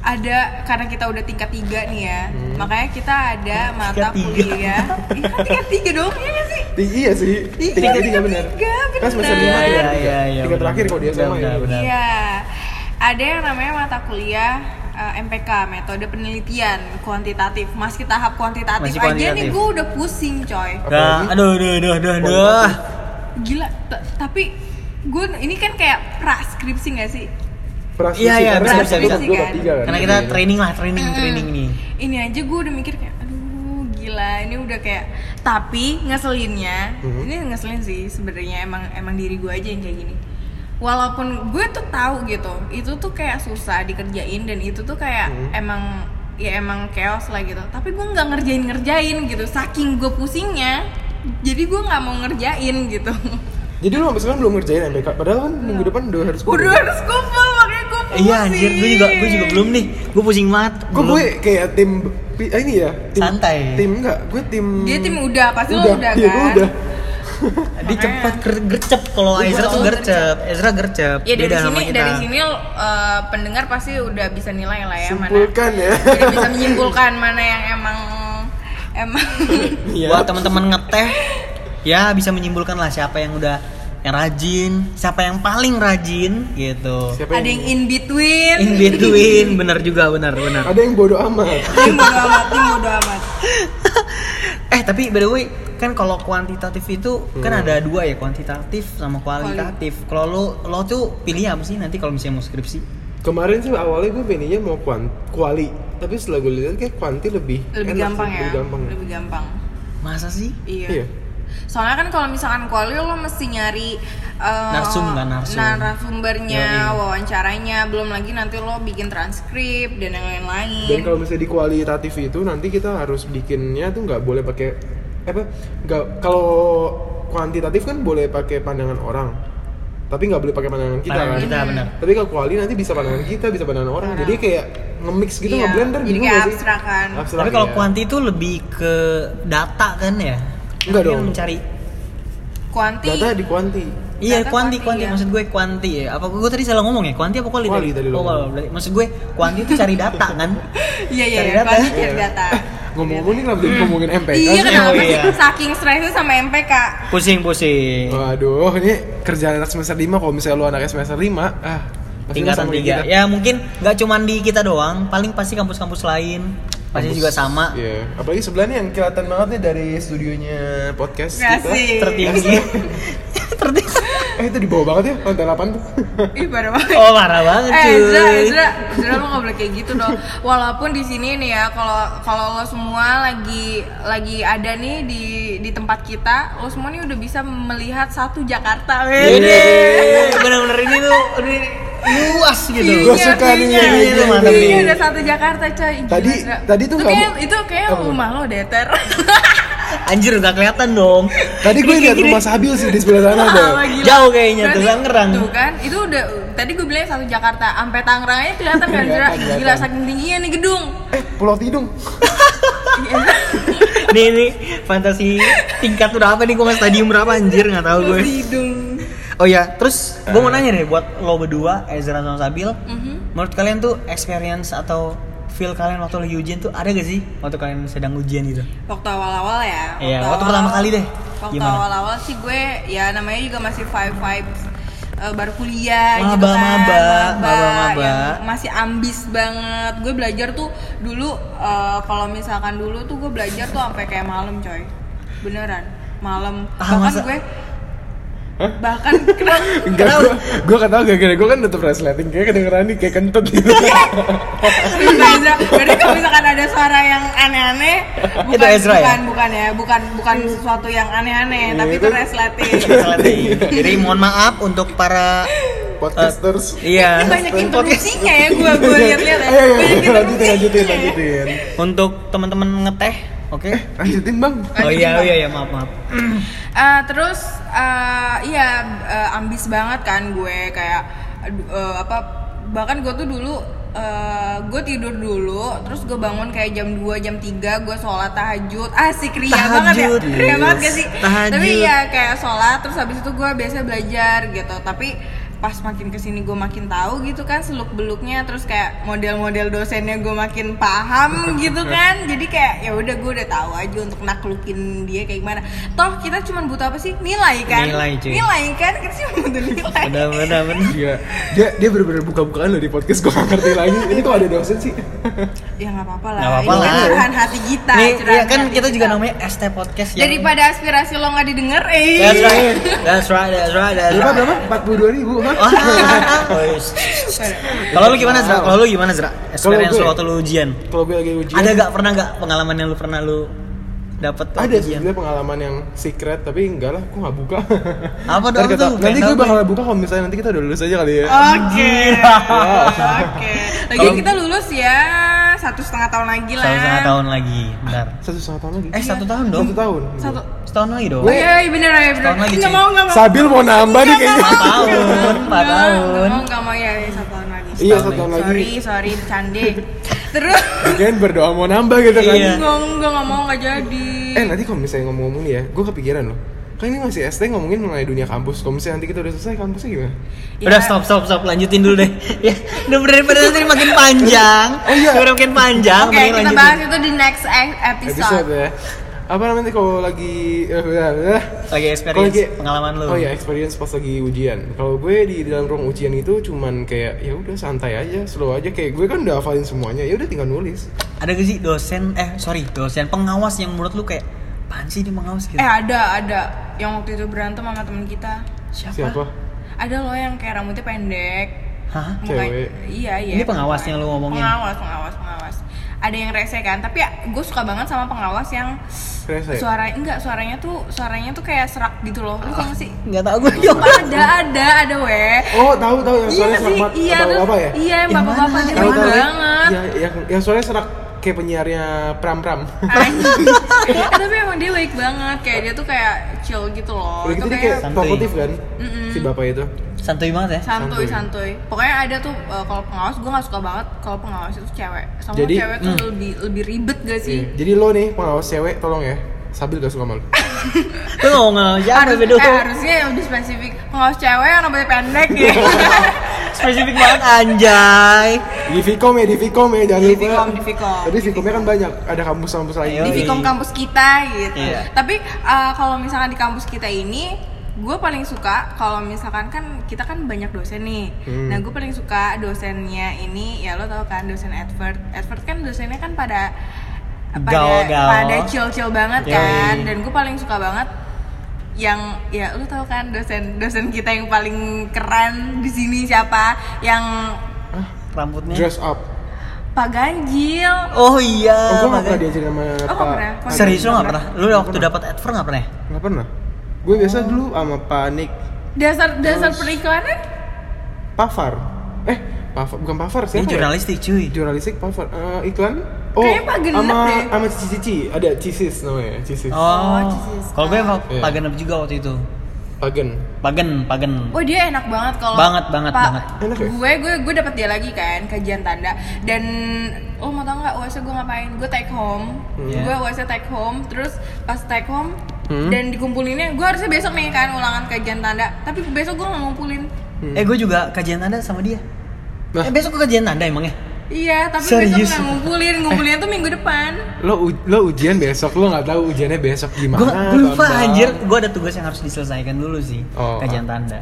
Speaker 3: ada karena kita udah tingkat tiga nih ya makanya kita ada mata
Speaker 1: Hmm. Tingkat tiga.
Speaker 3: kuliah iya kan tingkat tiga dong iya nggak sih
Speaker 2: Ti- iya sih.
Speaker 3: Tiga,
Speaker 2: Tiga
Speaker 3: tiga,
Speaker 2: tiga benar.
Speaker 3: tiga,
Speaker 2: Kan semester
Speaker 3: benar.
Speaker 2: lima
Speaker 1: Iya,
Speaker 2: ya.
Speaker 1: iya, iya,
Speaker 2: Tiga
Speaker 1: benar.
Speaker 2: terakhir kalau dia
Speaker 1: Benar,
Speaker 2: sama ya.
Speaker 1: benar, benar.
Speaker 3: iya ada yang namanya mata kuliah eh, MPK metode penelitian kuantitatif masih tahap kuantitatif,
Speaker 1: Masih
Speaker 3: aja
Speaker 1: kuantitatif.
Speaker 3: nih gue udah pusing coy
Speaker 1: Gak,
Speaker 2: Apalagi?
Speaker 1: aduh, aduh, aduh, aduh, aduh.
Speaker 3: gila t- tapi gue ini kan kayak praskripsi nggak sih
Speaker 2: Praskripsi,
Speaker 1: Iya, iya,
Speaker 2: karena
Speaker 1: bisa,
Speaker 2: semester
Speaker 1: bisa,
Speaker 2: dua
Speaker 1: bisa.
Speaker 2: gak tiga kan.
Speaker 1: Karena kita training lah, training, training nih.
Speaker 3: ini aja gue udah mikir kayak aduh gila ini udah kayak tapi ngeselinnya
Speaker 2: Mhm.
Speaker 3: ini ngeselin sih sebenarnya emang emang diri gue aja yang kayak gini walaupun gue tuh tahu gitu itu tuh kayak susah dikerjain dan itu tuh kayak
Speaker 2: Mhm.
Speaker 3: emang ya emang chaos lah gitu tapi gue nggak ngerjain ngerjain gitu saking gue pusingnya jadi gue nggak mau ngerjain gitu
Speaker 2: Jadi lu sampai sekarang belum ngerjain MBK, padahal kan minggu depan udah harus
Speaker 3: udah harus kumpul makanya gue pusing
Speaker 1: Iya anjir, gue juga gue juga belum nih. Gue pusing banget.
Speaker 2: Kok
Speaker 1: Belum.
Speaker 2: gue kayak tim pi- eh, ini ya, tim
Speaker 1: Santai.
Speaker 2: Tim enggak, gue tim
Speaker 3: dia tim udah pasti lo
Speaker 2: udah,
Speaker 3: udah
Speaker 2: iya,
Speaker 3: kan
Speaker 2: gue udah.
Speaker 1: Dia
Speaker 3: Makanya.
Speaker 1: cepat ger- gercep kalau
Speaker 3: Gue
Speaker 1: Ezra tuh
Speaker 3: juga tahu
Speaker 1: gercep. Ezra gercep.
Speaker 3: Ya dari
Speaker 1: Beda sama
Speaker 3: sini
Speaker 1: kita.
Speaker 3: dari sini eh, pendengar pasti udah bisa nilai lah ya
Speaker 2: Simpulkan ya.
Speaker 3: mana udah bisa menyimpulkan mana yang emang emang
Speaker 2: Iya.
Speaker 1: Buat teman-teman ngeteh ya bisa menyimpulkan lah siapa yang udah yang rajin, siapa yang paling rajin gitu.
Speaker 2: Siapa
Speaker 3: ada yang in between,
Speaker 1: In between, bener juga, bener bener.
Speaker 2: Ada yang bodoh amat.
Speaker 3: Tim bodo amat, tim bodo amat.
Speaker 1: Eh tapi by the way kan kalau kuantitatif itu
Speaker 2: Hmm.
Speaker 1: kan ada dua ya kuantitatif sama kualitatif. Kalau lo lo tuh pilih apa sih nanti kalau misalnya mau skripsi?
Speaker 2: Kemarin sih awalnya gue pengennya mau kuan kuali, tapi setelah gue lihat kayak kuanti lebih
Speaker 3: Lebih
Speaker 2: enak sih,
Speaker 3: gampang ya.
Speaker 2: Lebih gampang.
Speaker 3: Lebih gampang.
Speaker 1: Masa sih?
Speaker 3: Iya.
Speaker 2: Iya.
Speaker 3: Soalnya kan kalau misalkan kuali lo mesti nyari eh,
Speaker 1: Narsum kan, narsum.
Speaker 3: narasumbernya,
Speaker 1: Yoi.
Speaker 3: wawancaranya, belum lagi nanti lo bikin transkrip dan yang lain-lain.
Speaker 2: Dan kalau misalnya di kualitatif itu nanti kita harus bikinnya tuh nggak boleh pakai apa? Nggak kalau kuantitatif kan boleh pakai pandangan orang, tapi nggak boleh pakai pandangan kita
Speaker 1: Pandangan
Speaker 2: kan.
Speaker 1: kita bener.
Speaker 2: Tapi kalau kuali nanti bisa pandangan kita, bisa pandangan orang. Jadi kayak nge-mix gitu,
Speaker 3: Iya,
Speaker 2: nge-blender
Speaker 3: jadi
Speaker 2: bingung
Speaker 3: kayak
Speaker 2: nggak sih?
Speaker 3: abstrak kan.
Speaker 2: Abstrak,
Speaker 1: Tapi kalau
Speaker 2: iya.
Speaker 1: kuanti itu lebih ke data kan ya?
Speaker 2: Enggak
Speaker 1: Dia
Speaker 2: dong.
Speaker 1: Mencari.
Speaker 3: Kuanti.
Speaker 2: data di kuanti.
Speaker 1: Iya kuanti
Speaker 3: Data kuanti,
Speaker 1: kuanti
Speaker 3: iya.
Speaker 1: maksud gue kuanti ya. Apa gue tadi salah ngomong ya? Kuanti apa kuali?
Speaker 2: Kuali tadi lo
Speaker 1: Oh,
Speaker 2: ngomong.
Speaker 1: kuali. maksud gue kuanti itu cari data kan?
Speaker 3: Iya iya,
Speaker 1: Cari
Speaker 3: iya,
Speaker 1: data.
Speaker 3: pasti cari data.
Speaker 2: Ngomong-ngomong ini kenapa jadi
Speaker 1: Hmm.
Speaker 2: ngomongin MPK
Speaker 3: Iya
Speaker 2: sih?
Speaker 3: kenapa
Speaker 1: iya.
Speaker 3: sih saking stresnya sama MPK?
Speaker 1: Pusing pusing.
Speaker 2: Waduh, ini kerjaan anak semester 5 kalau misalnya lu anak semester 5, ah pasti lu
Speaker 1: tingkatan
Speaker 2: sama kayak
Speaker 1: tiga
Speaker 2: kita.
Speaker 1: ya mungkin nggak cuman di kita doang paling pasti kampus-kampus lain pasti
Speaker 2: Kampus.
Speaker 1: juga sama
Speaker 2: Iya, apalagi sebelah nih yang kelihatan banget nih dari studionya podcast
Speaker 3: Kasih.
Speaker 1: tertinggi
Speaker 3: Iya.
Speaker 1: tertinggi
Speaker 2: kita. Eh itu di bawah banget ya, lantai 8 tuh.
Speaker 3: Ih parah banget.
Speaker 1: oh marah banget
Speaker 3: Eh
Speaker 1: cuy
Speaker 3: Ezra, Ezra, Ezra lu gak boleh kayak gitu dong. Walaupun di sini nih ya, kalau kalau lo semua lagi lagi ada nih di di tempat kita, lo semua nih udah bisa melihat satu Jakarta.
Speaker 2: Iya
Speaker 1: ini
Speaker 3: wede.
Speaker 1: bener-bener ini tuh ini luas gitu
Speaker 3: Iya,
Speaker 2: Gua suka nih
Speaker 3: iya,
Speaker 2: yang
Speaker 1: ini
Speaker 3: iya,
Speaker 1: tuh mantep
Speaker 3: iya,
Speaker 1: nih.
Speaker 3: udah satu Jakarta coy. Gila,
Speaker 2: Tadi-
Speaker 3: Ezra.
Speaker 2: tadi tuh
Speaker 3: itu
Speaker 2: kamu-
Speaker 3: kayak itu kayak
Speaker 2: kamu.
Speaker 3: rumah lo deh ter.
Speaker 1: anjir nggak kelihatan dong
Speaker 2: Tadi gue lihat rumah Sabil sih di sebelah sana tuh.
Speaker 3: Wah, gila.
Speaker 1: Jauh kayaknya,
Speaker 3: Berarti-
Speaker 1: tuh, Tangerang.
Speaker 3: Tuh kan, itu udah tadi gue bilang satu Jakarta, sampai Tangerang aja
Speaker 1: Iya,
Speaker 3: kelihatan kan Ezra.
Speaker 2: Kelihatan, kelihatan.
Speaker 3: Gila saking tingginya nih gedung.
Speaker 2: Eh, Pulau Tidung.
Speaker 1: nih ini fantasi tingkat berapa nih gue stadium berapa anjir nggak tahu gue
Speaker 3: Hidung.
Speaker 1: oh ya terus gue mau nanya deh buat lo berdua Ezra sama Sabil
Speaker 3: Mhm.
Speaker 1: menurut kalian tuh experience atau feel kalian waktu lagi ujian tuh ada gak sih waktu kalian sedang ujian gitu
Speaker 3: Waktu awal-awal ya.
Speaker 1: Iya, waktu pertama kali deh.
Speaker 3: Waktu
Speaker 1: Gimana?
Speaker 3: awal-awal sih gue ya namanya juga masih five vibes eh, baru kuliah gitu
Speaker 1: Maba,
Speaker 3: kan
Speaker 1: maba, maba, maba.
Speaker 3: yang masih ambis banget gue belajar tuh dulu eh, kalau misalkan dulu tuh gue belajar tuh sampai kayak malam coy beneran malam
Speaker 1: Ah,
Speaker 3: bahkan
Speaker 1: masa?
Speaker 3: gue bahkan kenapa
Speaker 2: Enggak, gue gue kata gara-gara gue kan nutup resleting kayak kedengeran nih kayak kentut gitu.
Speaker 3: Iya. Bukan Ezra. Berarti kalau misalkan ada suara yang aneh-aneh, bukan
Speaker 1: Itu Ezra ya? Iya.
Speaker 3: bukan, bukan ya, bukan bukan sesuatu yang aneh-aneh, tapi itu
Speaker 2: itu-
Speaker 3: resleting.
Speaker 1: jadi mohon maaf untuk para
Speaker 2: Podcasters.
Speaker 1: iya
Speaker 3: Ini banyak
Speaker 1: podcast.
Speaker 3: interupsinya ya gue gue
Speaker 2: Iya.
Speaker 3: lihat-lihat ya.
Speaker 2: Ayo, ayo,
Speaker 3: Banyak
Speaker 2: ayo, lanjutin, lanjutin,
Speaker 3: interupsinya ya.
Speaker 2: lanjutin.
Speaker 1: untuk teman-teman ngeteh oke
Speaker 2: Lanjutin, Bang.
Speaker 1: oh iya oh iya ya maaf maaf
Speaker 3: Eh, terus eh, iya eh, ambis banget kan gue kayak aduh, eh, apa bahkan gue tuh dulu eh, gue tidur dulu terus gue bangun kayak jam 2 jam 3 gue sholat tahajud asik ria banget ya
Speaker 1: Tahajud,
Speaker 3: ria
Speaker 1: yes.
Speaker 3: banget gak sih
Speaker 1: Tahajud.
Speaker 3: tapi ya kayak sholat terus habis itu gue biasa belajar gitu tapi pas makin kesini gue makin tahu gitu kan seluk beluknya terus kayak model-model dosennya gue makin paham gitu kan jadi kayak ya udah gue udah tahu aja untuk naklukin dia kayak gimana toh kita cuma butuh apa sih nilai kan
Speaker 1: Nilai, cuy.
Speaker 3: nilai kan kita cuma butuh nilai
Speaker 1: benar benar benar
Speaker 2: Iya. Dia dia bener-bener buka-bukaan loh di podcast gue gak ngerti lagi. Ini kok ada dosen sih?
Speaker 3: ya nggak apa-apa lah
Speaker 1: Nggak apa-apa
Speaker 3: ini kan
Speaker 1: lah.
Speaker 3: curahan hati kita
Speaker 1: nih
Speaker 3: curahan
Speaker 1: iya kan
Speaker 3: hati
Speaker 1: kita juga namanya ST podcast yang
Speaker 3: daripada aspirasi lo nggak didengar eh
Speaker 1: that's right that's right that's right that's
Speaker 2: Berapa
Speaker 1: right
Speaker 2: berapa? 42 ribu, hah?
Speaker 1: Wah, oh, yes. Kalau lu gimana Zra? Kalau lu gimana Zra? Experience
Speaker 2: gue-
Speaker 1: lu waktu lu ujian?
Speaker 2: Kalau gue lagi ujian.
Speaker 1: Ada gak pernah gak pengalaman yang lu pernah lu dapat
Speaker 2: ada
Speaker 1: ujian.
Speaker 2: sebenarnya pengalaman yang secret tapi enggak lah aku nggak buka
Speaker 1: Apa
Speaker 2: Ntar
Speaker 1: dong
Speaker 2: kita-
Speaker 1: tuh? Ah. Pengen
Speaker 2: nanti gue
Speaker 1: tahu
Speaker 2: bakal buka kalau misalnya nanti kita udah lulus aja kali ya
Speaker 3: Oke.
Speaker 2: Wow.
Speaker 3: Oke. Lagi kita lulus ya satu setengah tahun lagi lah.
Speaker 1: Satu setengah tahun lagi, bentar.
Speaker 2: satu setengah tahun lagi
Speaker 1: Eh satu tahun dong.
Speaker 2: satu tahun
Speaker 3: ya. Satu.
Speaker 1: Setahun lagi dong.
Speaker 3: Oh iya, iya bener ya bener.
Speaker 1: Setahun lagi,
Speaker 3: Nggak
Speaker 1: cuy.
Speaker 3: mau nggak mau.
Speaker 2: Sabil mau nambah nih kayaknya
Speaker 1: Empat tahun, empat
Speaker 3: Nggak,
Speaker 1: tahun.
Speaker 3: nggak mau nggak mau ya ya, satu tahun lagi.
Speaker 2: iya satu tahun lagi
Speaker 3: Sorry sorry bercanda. Terus
Speaker 2: Mungkin berdoa mau nambah gitu kan
Speaker 1: Iya.
Speaker 3: nggak nggak nggak mau nggak jadi.
Speaker 2: Eh nanti kalau misalnya ngomong-ngomong nih ya, gue kepikiran loh Kan ini masih SD ngomongin mengenai dunia kampus Kalau misalnya nanti kita udah selesai kampusnya gimana?
Speaker 3: Ya.
Speaker 1: Udah stop stop stop lanjutin dulu deh. ya, udah daripada nanti makin panjang.
Speaker 2: Oh, iya.
Speaker 1: Udah makin panjang,
Speaker 3: Oke
Speaker 1: mending
Speaker 3: kita
Speaker 1: lanjutin.
Speaker 3: bahas itu di next e-
Speaker 2: Episode
Speaker 3: episode.
Speaker 2: ya Apa namanya kalau lagi... eh, bentar, bentar.
Speaker 1: Lagi
Speaker 2: Kalau
Speaker 1: experience pengalaman lu.
Speaker 2: Oh iya, experience pas lagi ujian Kalau gue di dalam ruang ujian itu cuman kayak ya udah santai aja, slow aja Kayak gue kan udah hafalin semuanya, ya udah tinggal nulis
Speaker 1: Ada gak sih dosen eh sorry, dosen pengawas yang menurut lu kayak apaan sih dia mengawas gitu?
Speaker 3: Eh ada ada yang waktu itu berantem sama teman kita.
Speaker 1: Siapa?
Speaker 2: Siapa?
Speaker 3: Ada loh yang kayak rambutnya pendek.
Speaker 1: Hah?
Speaker 3: Muka-
Speaker 2: Cewek.
Speaker 3: Iya iya.
Speaker 1: Ini pengawasnya lu ngomongin?
Speaker 3: Pengawas pengawas pengawas. Ada yang rese kan, tapi gue suka banget sama pengawas yang
Speaker 2: Rese
Speaker 3: suara enggak suaranya tuh suaranya tuh kayak serak gitu loh. Lu tau gak sih?
Speaker 1: Enggak tahu gue.
Speaker 3: Sumpah, ada ada ada weh.
Speaker 2: Oh tahu tahu yang Iya. suaranya serak
Speaker 3: Iya sih, iya
Speaker 2: banget
Speaker 3: terus-
Speaker 2: apa ya?
Speaker 3: Iya,
Speaker 1: Yang
Speaker 3: yang bapak-bapak
Speaker 1: mana?
Speaker 3: gitu
Speaker 2: Tahu, tahu, tahu.
Speaker 3: banget.
Speaker 2: Iya, yang, yang suaranya serak kayak penyiarnya pram-pram
Speaker 3: Anjing. Eh, tapi emang dia baik banget, kayak dia tuh kayak chill gitu loh.
Speaker 2: Udah
Speaker 3: Itu
Speaker 2: gitu dia
Speaker 3: kayak
Speaker 2: kayak
Speaker 1: Santuy.
Speaker 2: provokatif kan si bapak itu.
Speaker 1: Santuy banget ya.
Speaker 3: santuy
Speaker 2: santuy.
Speaker 3: santuy pokoknya ada tuh eh, kalau pengawas gue nggak suka banget kalau pengawas itu cewek sama
Speaker 2: Jadi, hmm.
Speaker 3: cewek tuh lebih lebih ribet gak sih
Speaker 2: Iya. Jadi lo nih pengawas cewek tolong ya. Sabil gak suka malu.
Speaker 1: Lu ngomong sama siapa Ya,
Speaker 3: Harus-
Speaker 1: bedo?
Speaker 3: eh, harusnya yang lebih spesifik pengawas cewek yang rambutnya pendek ya
Speaker 1: Spesifik banget anjay.
Speaker 2: Di Vicom ya, di Vicom ya jangan
Speaker 3: Di
Speaker 2: lupa.
Speaker 3: Vicom, di Vicom.
Speaker 2: Tapi Vicomnya kan banyak, ada kampus-kampus lain.
Speaker 1: Ayo.
Speaker 3: di
Speaker 1: Yoi.
Speaker 3: Vicom kampus kita gitu
Speaker 1: Iya.
Speaker 3: tapi eh, kalau misalkan di kampus kita ini gue paling suka kalau misalkan kan kita kan banyak dosen nih
Speaker 2: Hmm.
Speaker 3: nah gue paling suka dosennya ini ya lo tau kan dosen advert advert kan dosennya kan pada pada
Speaker 1: Gaul-gaul.
Speaker 3: pada chill-chill banget
Speaker 1: Yoi.
Speaker 3: kan dan gue paling suka banget yang ya lu tau kan dosen dosen kita yang paling keren di sini siapa yang ya.
Speaker 1: Rambutnya.
Speaker 2: Dress up.
Speaker 3: Pak Ganjil
Speaker 1: Oh iya.
Speaker 2: Oh, gue gak
Speaker 1: makanya.
Speaker 2: pernah diajarin sama
Speaker 3: nggak
Speaker 2: Pak.
Speaker 3: pernah.
Speaker 2: Pak
Speaker 1: Serius
Speaker 2: Ganjil.
Speaker 1: lu nggak pernah? Lu
Speaker 2: Nggak
Speaker 1: waktu
Speaker 2: pernah.
Speaker 1: dapat adver nggak pernah? ya?
Speaker 2: Nggak pernah. Gue biasa dulu sama Pak Nick
Speaker 3: dasar dasar periklanan
Speaker 2: Pafar. Eh, Pafar bukan Pafar
Speaker 1: Ini
Speaker 2: siapa? ya?
Speaker 1: jurnalistik cuy.
Speaker 2: Jurnalistik Pafar. Eh, iklan. Oh,
Speaker 3: Kayaknya Pak Genep
Speaker 2: sama
Speaker 3: deh.
Speaker 2: sama Cici Cici. Ada Cicis namanya, Cicis.
Speaker 1: Oh.
Speaker 3: Jesus.
Speaker 1: Kalau gue Pak
Speaker 2: Iya.
Speaker 1: Pagenep juga waktu itu.
Speaker 2: Pagen.
Speaker 1: Pagen, Pagen.
Speaker 3: Wah Oh, dia enak banget kalau
Speaker 1: Banget, banget, banget.
Speaker 2: Enak ya?
Speaker 3: Gue gue gue dapet dia lagi kan kajian tanda dan lo mau tau nggak UAS gue ngapain? Gue take home.
Speaker 1: Iya.
Speaker 3: Gue UAS take home terus pas take home
Speaker 2: Hmm.
Speaker 3: dan dikumpulinnya gue harusnya besok nih kan ulangan kajian tanda tapi besok gue nggak ngumpulin.
Speaker 2: Hmm.
Speaker 1: Eh gue juga kajian tanda sama dia.
Speaker 2: Nah.
Speaker 1: Eh besok gue kajian ya? tanda emangnya.
Speaker 3: Iya, tapi
Speaker 1: Serius?
Speaker 3: besok nggak ngumpulin. Ngumpulinnya tuh minggu depan.
Speaker 2: Lo u- lo ujian besok, lo nggak tahu ujiannya besok gimana.
Speaker 1: Gue gue lupa
Speaker 2: Bambang.
Speaker 1: anjir, gue ada tugas yang harus diselesaikan dulu sih.
Speaker 2: Oh.
Speaker 1: Kajian tanda.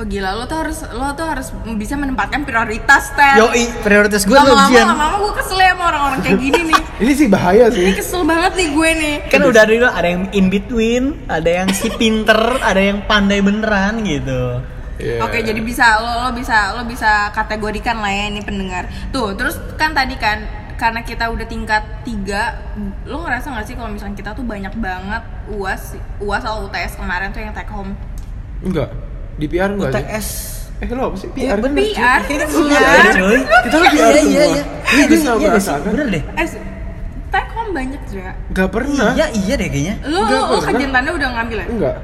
Speaker 3: Oh gila, lo tuh harus lo tuh harus bisa menempatkan prioritas Ter.
Speaker 1: Yoi, prioritas gue tuh
Speaker 3: lama-lama
Speaker 1: ujian.
Speaker 3: lama-lama gue kesel ya sama orang-orang kayak gini nih.
Speaker 2: Ini sih bahaya
Speaker 3: Ini
Speaker 2: sih.
Speaker 3: kesel banget nih gue nih.
Speaker 1: Kan udah ada ada yang in between, ada yang si pinter, ada yang pandai beneran gitu.
Speaker 2: Iya.
Speaker 3: Oke, jadi bisa lo lo bisa lo bisa kategorikan lah ya ini pendengar. Tuh, terus kan tadi kan karena kita udah tingkat 3, lo ngerasa nggak sih kalau misalnya kita tuh banyak banget UAS UAS atau UTS kemarin tuh yang take home?
Speaker 2: enggak di PR enggak sih?
Speaker 1: UTS.
Speaker 2: Eh lo apa sih PR?
Speaker 1: bener,
Speaker 2: bener.
Speaker 1: cuy.
Speaker 3: PR.
Speaker 1: Iya, cuy.
Speaker 2: Kita lagi PR
Speaker 1: Iya, iya,
Speaker 2: semua.
Speaker 1: iya.
Speaker 2: Ini
Speaker 1: Iya
Speaker 2: dia
Speaker 1: deh, iya
Speaker 2: nggak
Speaker 1: deh,
Speaker 2: merasakan.
Speaker 1: bener deh.
Speaker 3: Eh, s- take home banyak juga.
Speaker 2: Enggak pernah.
Speaker 1: Iya, iya deh kayaknya.
Speaker 3: Lo
Speaker 2: Nggak
Speaker 3: lo, lo
Speaker 2: pernah.
Speaker 3: kajian tanda udah ngambil ya?
Speaker 2: Enggak.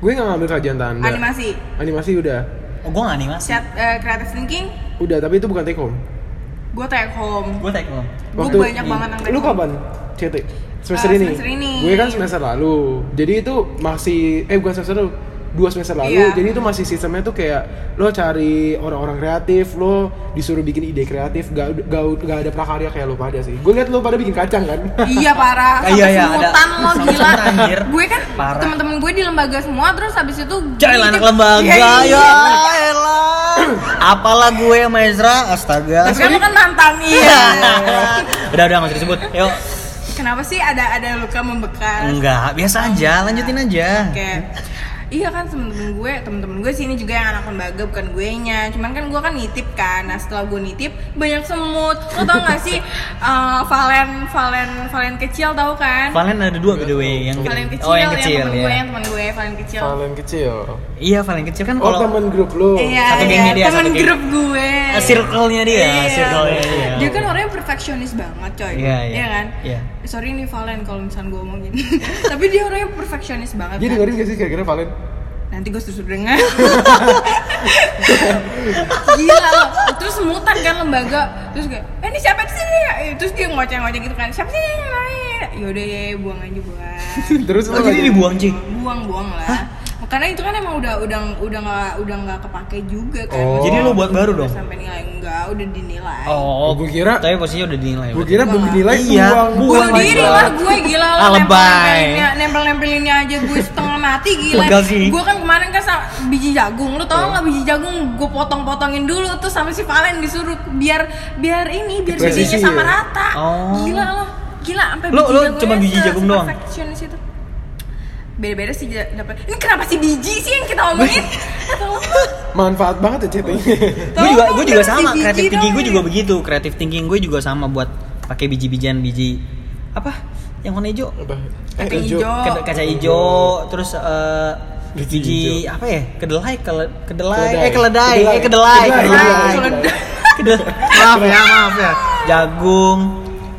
Speaker 2: Gue nggak ngambil kajian tanda.
Speaker 3: Animasi,
Speaker 2: Animasi udah.
Speaker 1: Oh, gue gak animasi.
Speaker 3: chat, eh, creative thinking,
Speaker 2: Udah, tapi itu bukan take home.
Speaker 3: gue take home.
Speaker 1: Gue take home.
Speaker 3: Gue banyak banget yang take
Speaker 2: Lu
Speaker 3: home.
Speaker 2: kapan? CT. Semester,
Speaker 3: Eh,
Speaker 2: ini.
Speaker 3: semester ini.
Speaker 2: Gue kan semester lalu. Jadi itu masih eh bukan semester lalu, dua semester lalu.
Speaker 3: Iya.
Speaker 2: Jadi itu masih sistemnya tuh kayak lo cari orang-orang kreatif, lo disuruh bikin ide kreatif, gak, gak, gak ada prakarya kayak lo pada sih. Gue liat lo pada bikin kacang kan.
Speaker 3: Iya parah,
Speaker 1: Iya,
Speaker 3: sampai
Speaker 1: iya,
Speaker 3: semutan
Speaker 1: ada.
Speaker 3: lo
Speaker 1: Sampai
Speaker 3: gila.
Speaker 1: semutan, anjir.
Speaker 3: Gue kan
Speaker 1: Parah.
Speaker 3: teman-teman gue di lembaga semua terus habis itu
Speaker 1: Jangan anak lembaga
Speaker 3: Iya, iya.
Speaker 1: ya elah. Apalah gue sama Ezra, astaga.
Speaker 3: Tapi kamu kan mantan iya.
Speaker 1: udah udah nggak usah disebut. Yuk.
Speaker 3: Kenapa sih ada ada luka membekas?
Speaker 1: Hmm. Enggak, biasa aja, lanjutin aja.
Speaker 3: Oke. Iya kan temen-temen gue, temen-temen gue sih ini juga yang anak lembaga bukan gue nya. Cuman kan gue kan nitip kan. Nah setelah gue nitip banyak semut. Lo tau gak sih eh, valen valen valen kecil tau kan?
Speaker 1: Valen ada dua by the way yang
Speaker 3: Valen kecil,
Speaker 1: oh yang kecil
Speaker 3: temen
Speaker 1: ya.
Speaker 3: gue, yang temen gue valen kecil.
Speaker 2: Valen kecil.
Speaker 1: Iya Valen kecil kan
Speaker 2: Oh,
Speaker 1: kalau
Speaker 2: temen grup lo.
Speaker 3: Iya,
Speaker 1: Satu
Speaker 3: iya,
Speaker 1: gengnya dia,
Speaker 3: temen
Speaker 1: satu geng.
Speaker 3: grup gue. Iya.
Speaker 1: Eh, circle-nya dia, circle-nya dia.
Speaker 3: Dia kan orangnya perfeksionis banget, coy.
Speaker 1: Iya, iya.
Speaker 3: kan?
Speaker 1: Iya.
Speaker 3: Sorry nih Valen kalau misalnya gue omongin. Tapi dia orangnya perfeksionis banget.
Speaker 2: Dia
Speaker 3: kan?
Speaker 2: dengerin gak sih kira-kira Valen?
Speaker 3: Nanti gue suruh dengar. Gila loh. Terus mutan kan lembaga. Terus kayak, "Eh, ini siapa sih?" Eh, Terus dia ngoceh-ngoceh gitu kan. "Siapa sih?" yang lain?" Yaudah ya, buang aja buang.
Speaker 2: Terus gitu.
Speaker 1: Oh, jadi
Speaker 2: lagi-
Speaker 1: dibuang cuy.
Speaker 3: Buang-buang lah. Karena itu kan emang udah udah udah nggak udah nggak kepake juga kan.
Speaker 2: Oh.
Speaker 1: Jadi lu buat baru
Speaker 3: Udah
Speaker 1: dong.
Speaker 3: sampai nilai enggak udah dinilai
Speaker 1: Oh,
Speaker 2: Gua kira-
Speaker 1: tapi posisinya udah dinilai.
Speaker 2: Gue kira belum
Speaker 3: Wah.
Speaker 2: dinilai
Speaker 1: Iya,
Speaker 2: buang.
Speaker 1: buang.
Speaker 3: bunuh diri
Speaker 1: God.
Speaker 3: lah gue gila
Speaker 1: Ah,
Speaker 3: lah
Speaker 1: lebay.
Speaker 3: nempel nempelinnya aja gue setengah mati gila
Speaker 1: Legal sih. Iya.
Speaker 3: gue kan kemarin kan sama biji jagung lu tau nggak biji jagung gue potong potongin dulu tuh sama si Valen disuruh biar biar ini biar
Speaker 2: Presisi
Speaker 3: bijinya
Speaker 2: ya?
Speaker 3: sama rata
Speaker 1: Oh.
Speaker 3: gila lo gila sampai
Speaker 1: Lo- lo
Speaker 3: jagungnya
Speaker 1: cuma biji
Speaker 3: se-
Speaker 1: jagung doang?
Speaker 3: se-perfectionist itu beda-beda sih ja- dapet ini kenapa sih biji sih yang kita omongin atau
Speaker 2: Manfaat banget ya chatting.
Speaker 1: gue juga
Speaker 3: Tolong
Speaker 1: gue juga
Speaker 3: dong,
Speaker 1: sama
Speaker 3: biji
Speaker 1: kreatif thinking gue
Speaker 3: dong.
Speaker 1: juga begitu kreatif thinking gue juga sama buat pakai biji-bijian biji apa yang warna hijau
Speaker 2: Apa? Eh,
Speaker 3: Kacang
Speaker 2: Ejo.
Speaker 3: hijau.
Speaker 1: Ked- kaca hijau terus eh,
Speaker 2: Biji
Speaker 1: biji
Speaker 2: hijau.
Speaker 1: apa ya kedelai kele- kedelai
Speaker 2: Kedelai.
Speaker 1: eh keledai
Speaker 2: Kedelai.
Speaker 1: eh kedelai
Speaker 2: Kedelai.
Speaker 1: kedelai
Speaker 3: Kedelai.
Speaker 1: Kedel- maaf ya maaf ya jagung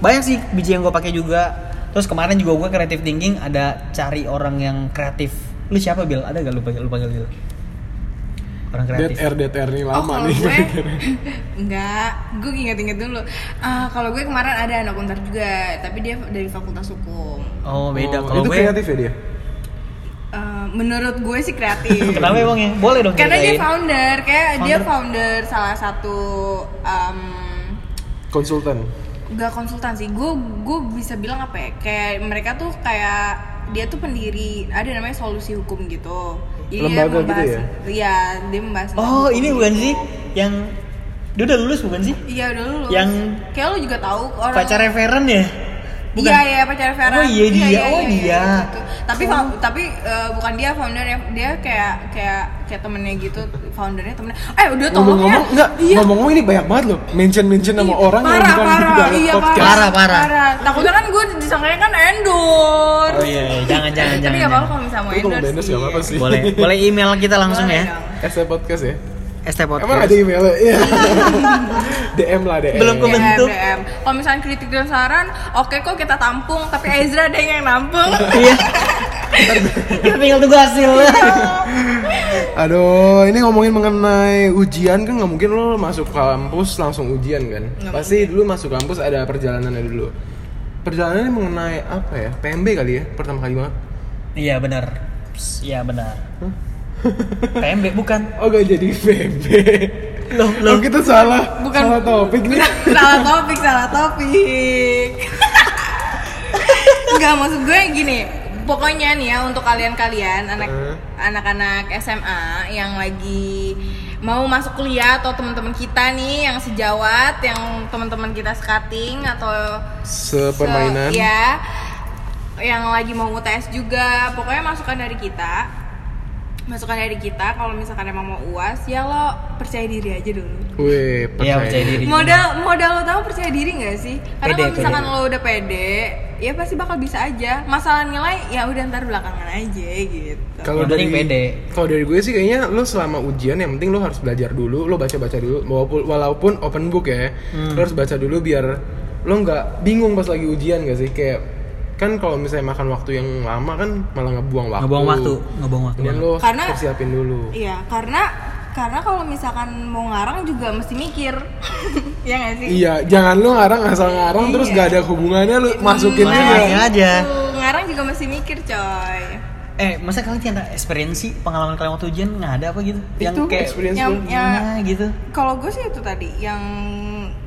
Speaker 1: banyak sih biji yang gue pakai juga terus kemarin juga gue kreatif thinking ada cari orang yang kreatif lu siapa Bill ada gak lu panggil lu panggil Bill orang
Speaker 2: Dead
Speaker 1: kreatif
Speaker 2: air, dead air nih
Speaker 3: Oh
Speaker 2: lama
Speaker 3: kalau
Speaker 2: nih.
Speaker 3: gue Enggak, gue inget-inget dulu Ah, Kalau gue kemarin ada anak untar juga Tapi dia dari fakultas hukum
Speaker 1: oh beda
Speaker 2: Oh,
Speaker 1: kalau
Speaker 2: itu
Speaker 1: gue
Speaker 2: kreatif ya dia.
Speaker 3: Eh, Menurut gue sih kreatif
Speaker 1: Kenapa emang ya? Boleh dong
Speaker 3: Karena dia
Speaker 1: ceritain.
Speaker 3: founder, kayak dia
Speaker 1: Founder?
Speaker 3: founder salah satu em,
Speaker 2: Konsultan.
Speaker 3: Gak konsultan sih, gue gue bisa bilang apa ya Kayak mereka tuh kayak dia tuh pendiri ada namanya solusi hukum gitu Jadi dia
Speaker 2: Lembaga gitu
Speaker 3: membahas,
Speaker 2: ya?
Speaker 3: Iya, dia membahas tentang
Speaker 1: Oh
Speaker 3: hukum
Speaker 1: ini bukan
Speaker 3: gitu.
Speaker 1: sih yang dia udah lulus bukan sih?
Speaker 3: Iya udah lulus
Speaker 1: Yang-
Speaker 3: kayak lu juga tahu orang
Speaker 1: Pacar referen ya? Bukan.
Speaker 3: Iya iya pacar
Speaker 1: Oh,
Speaker 3: Vera.
Speaker 1: iya, dia. Oh, dia.
Speaker 3: gitu.
Speaker 2: Oh.
Speaker 3: Tapi fa- tapi eh, bukan dia foundernya, dia kayak kayak kayak temennya gitu, foundernya temennya. Eh udah tolong ya.
Speaker 2: Ngomong-ngomong enggak,
Speaker 3: Iya.
Speaker 2: ngomong-ngomong ini banyak banget loh. Mention-mention sama orang yang
Speaker 3: parah,
Speaker 2: bukan
Speaker 3: parah,
Speaker 2: dalam
Speaker 3: iya,
Speaker 2: podcast.
Speaker 1: Parah, parah.
Speaker 3: Takutnya kan gue disangkanya kan endorse.
Speaker 1: Oh iya, iya. jangan jangan
Speaker 3: Tapi
Speaker 1: jangan.
Speaker 3: nggak apa-apa
Speaker 1: jangan.
Speaker 3: kalau misalnya mau
Speaker 2: Lu kalau
Speaker 3: endorse.
Speaker 2: endorse nggak apa-apa sih.
Speaker 1: Boleh boleh email kita langsung
Speaker 3: iya. Boleh
Speaker 1: ya.
Speaker 3: dong.
Speaker 2: SC podcast ya.
Speaker 1: ST Podcast.
Speaker 2: Emang ada emailnya? Iya. DM lah DM.
Speaker 1: Belum ke-
Speaker 3: DM,
Speaker 1: Kebentuk.
Speaker 3: DM. Iya, Kalau misalnya kritik dan saran, oke kok kita tampung, tapi Ezra ada yang nampung.
Speaker 1: Iya. Kita tinggal tunggu hasil.
Speaker 2: Aduh, ini ngomongin mengenai ujian kan nggak mungkin lo masuk kampus langsung ujian kan?
Speaker 3: Nggak
Speaker 2: Pasti dulu masuk kampus ada perjalanannya dulu. Perjalanannya mengenai apa ya? PMB kali ya pertama kali banget.
Speaker 1: Iya benar. Psst, Iya benar. PMB bukan. Eh,
Speaker 2: Oh gak jadi PMB.
Speaker 1: Loh, loh.
Speaker 2: Lo kita salah
Speaker 3: Bukan-
Speaker 2: salah topik nih.
Speaker 3: salah topik salah topik nggak maksud gue gini pokoknya nih ya untuk kalian-kalian anak
Speaker 2: Eh.
Speaker 3: anak-anak SMA yang lagi mau masuk kuliah atau teman-teman kita nih yang sejawat yang teman-teman kita sekating atau
Speaker 2: Sepermainan.
Speaker 3: se- ya yang lagi mau UTS juga pokoknya masukan dari kita masukan dari kita kalau misalkan emang mau uas ya lo percaya diri aja dulu
Speaker 2: Weh,
Speaker 1: Iya percaya diri.
Speaker 3: modal modal lo tahu percaya diri nggak sih karena
Speaker 1: Pede,
Speaker 3: kalau misalkan
Speaker 1: pede.
Speaker 3: lo udah pede ya pasti bakal bisa aja masalah nilai ya udah ntar belakangan aja gitu
Speaker 2: Kalau
Speaker 1: Yang
Speaker 2: dari
Speaker 1: penting pede.
Speaker 2: kalau dari gue sih kayaknya lo selama ujian yang penting lo harus belajar dulu, lo baca-baca dulu walaupun walaupun open book ya.
Speaker 3: Hmm.
Speaker 2: Lo harus baca dulu biar lo nggak bingung pas lagi ujian gak sih kayak kan kalau misalnya makan waktu yang lama kan malah ngebuang waktu.
Speaker 1: Ngebuang waktu, ngebuang waktu.
Speaker 2: Kemudian lo
Speaker 3: Karena-
Speaker 2: persiapin dulu.
Speaker 3: iya karena karena kalau misalkan mau ngarang juga mesti mikir ya nggak sih
Speaker 2: Iya, jangan lo ngarang asal ngarang terus
Speaker 3: Iya.
Speaker 2: gak ada hubungannya lo masukin
Speaker 1: Nah,
Speaker 2: aja.
Speaker 1: iya. aja.
Speaker 3: itu. ngarang juga mesti mikir coy
Speaker 1: Eh, masa kalian tidak experience pengalaman kalian waktu ujian nggak ada apa gitu? Yang
Speaker 2: Itu
Speaker 1: kayak
Speaker 2: experience
Speaker 3: yang-
Speaker 2: gue.
Speaker 3: Ya.
Speaker 1: gimana gitu.
Speaker 3: kalau gue sih itu tadi yang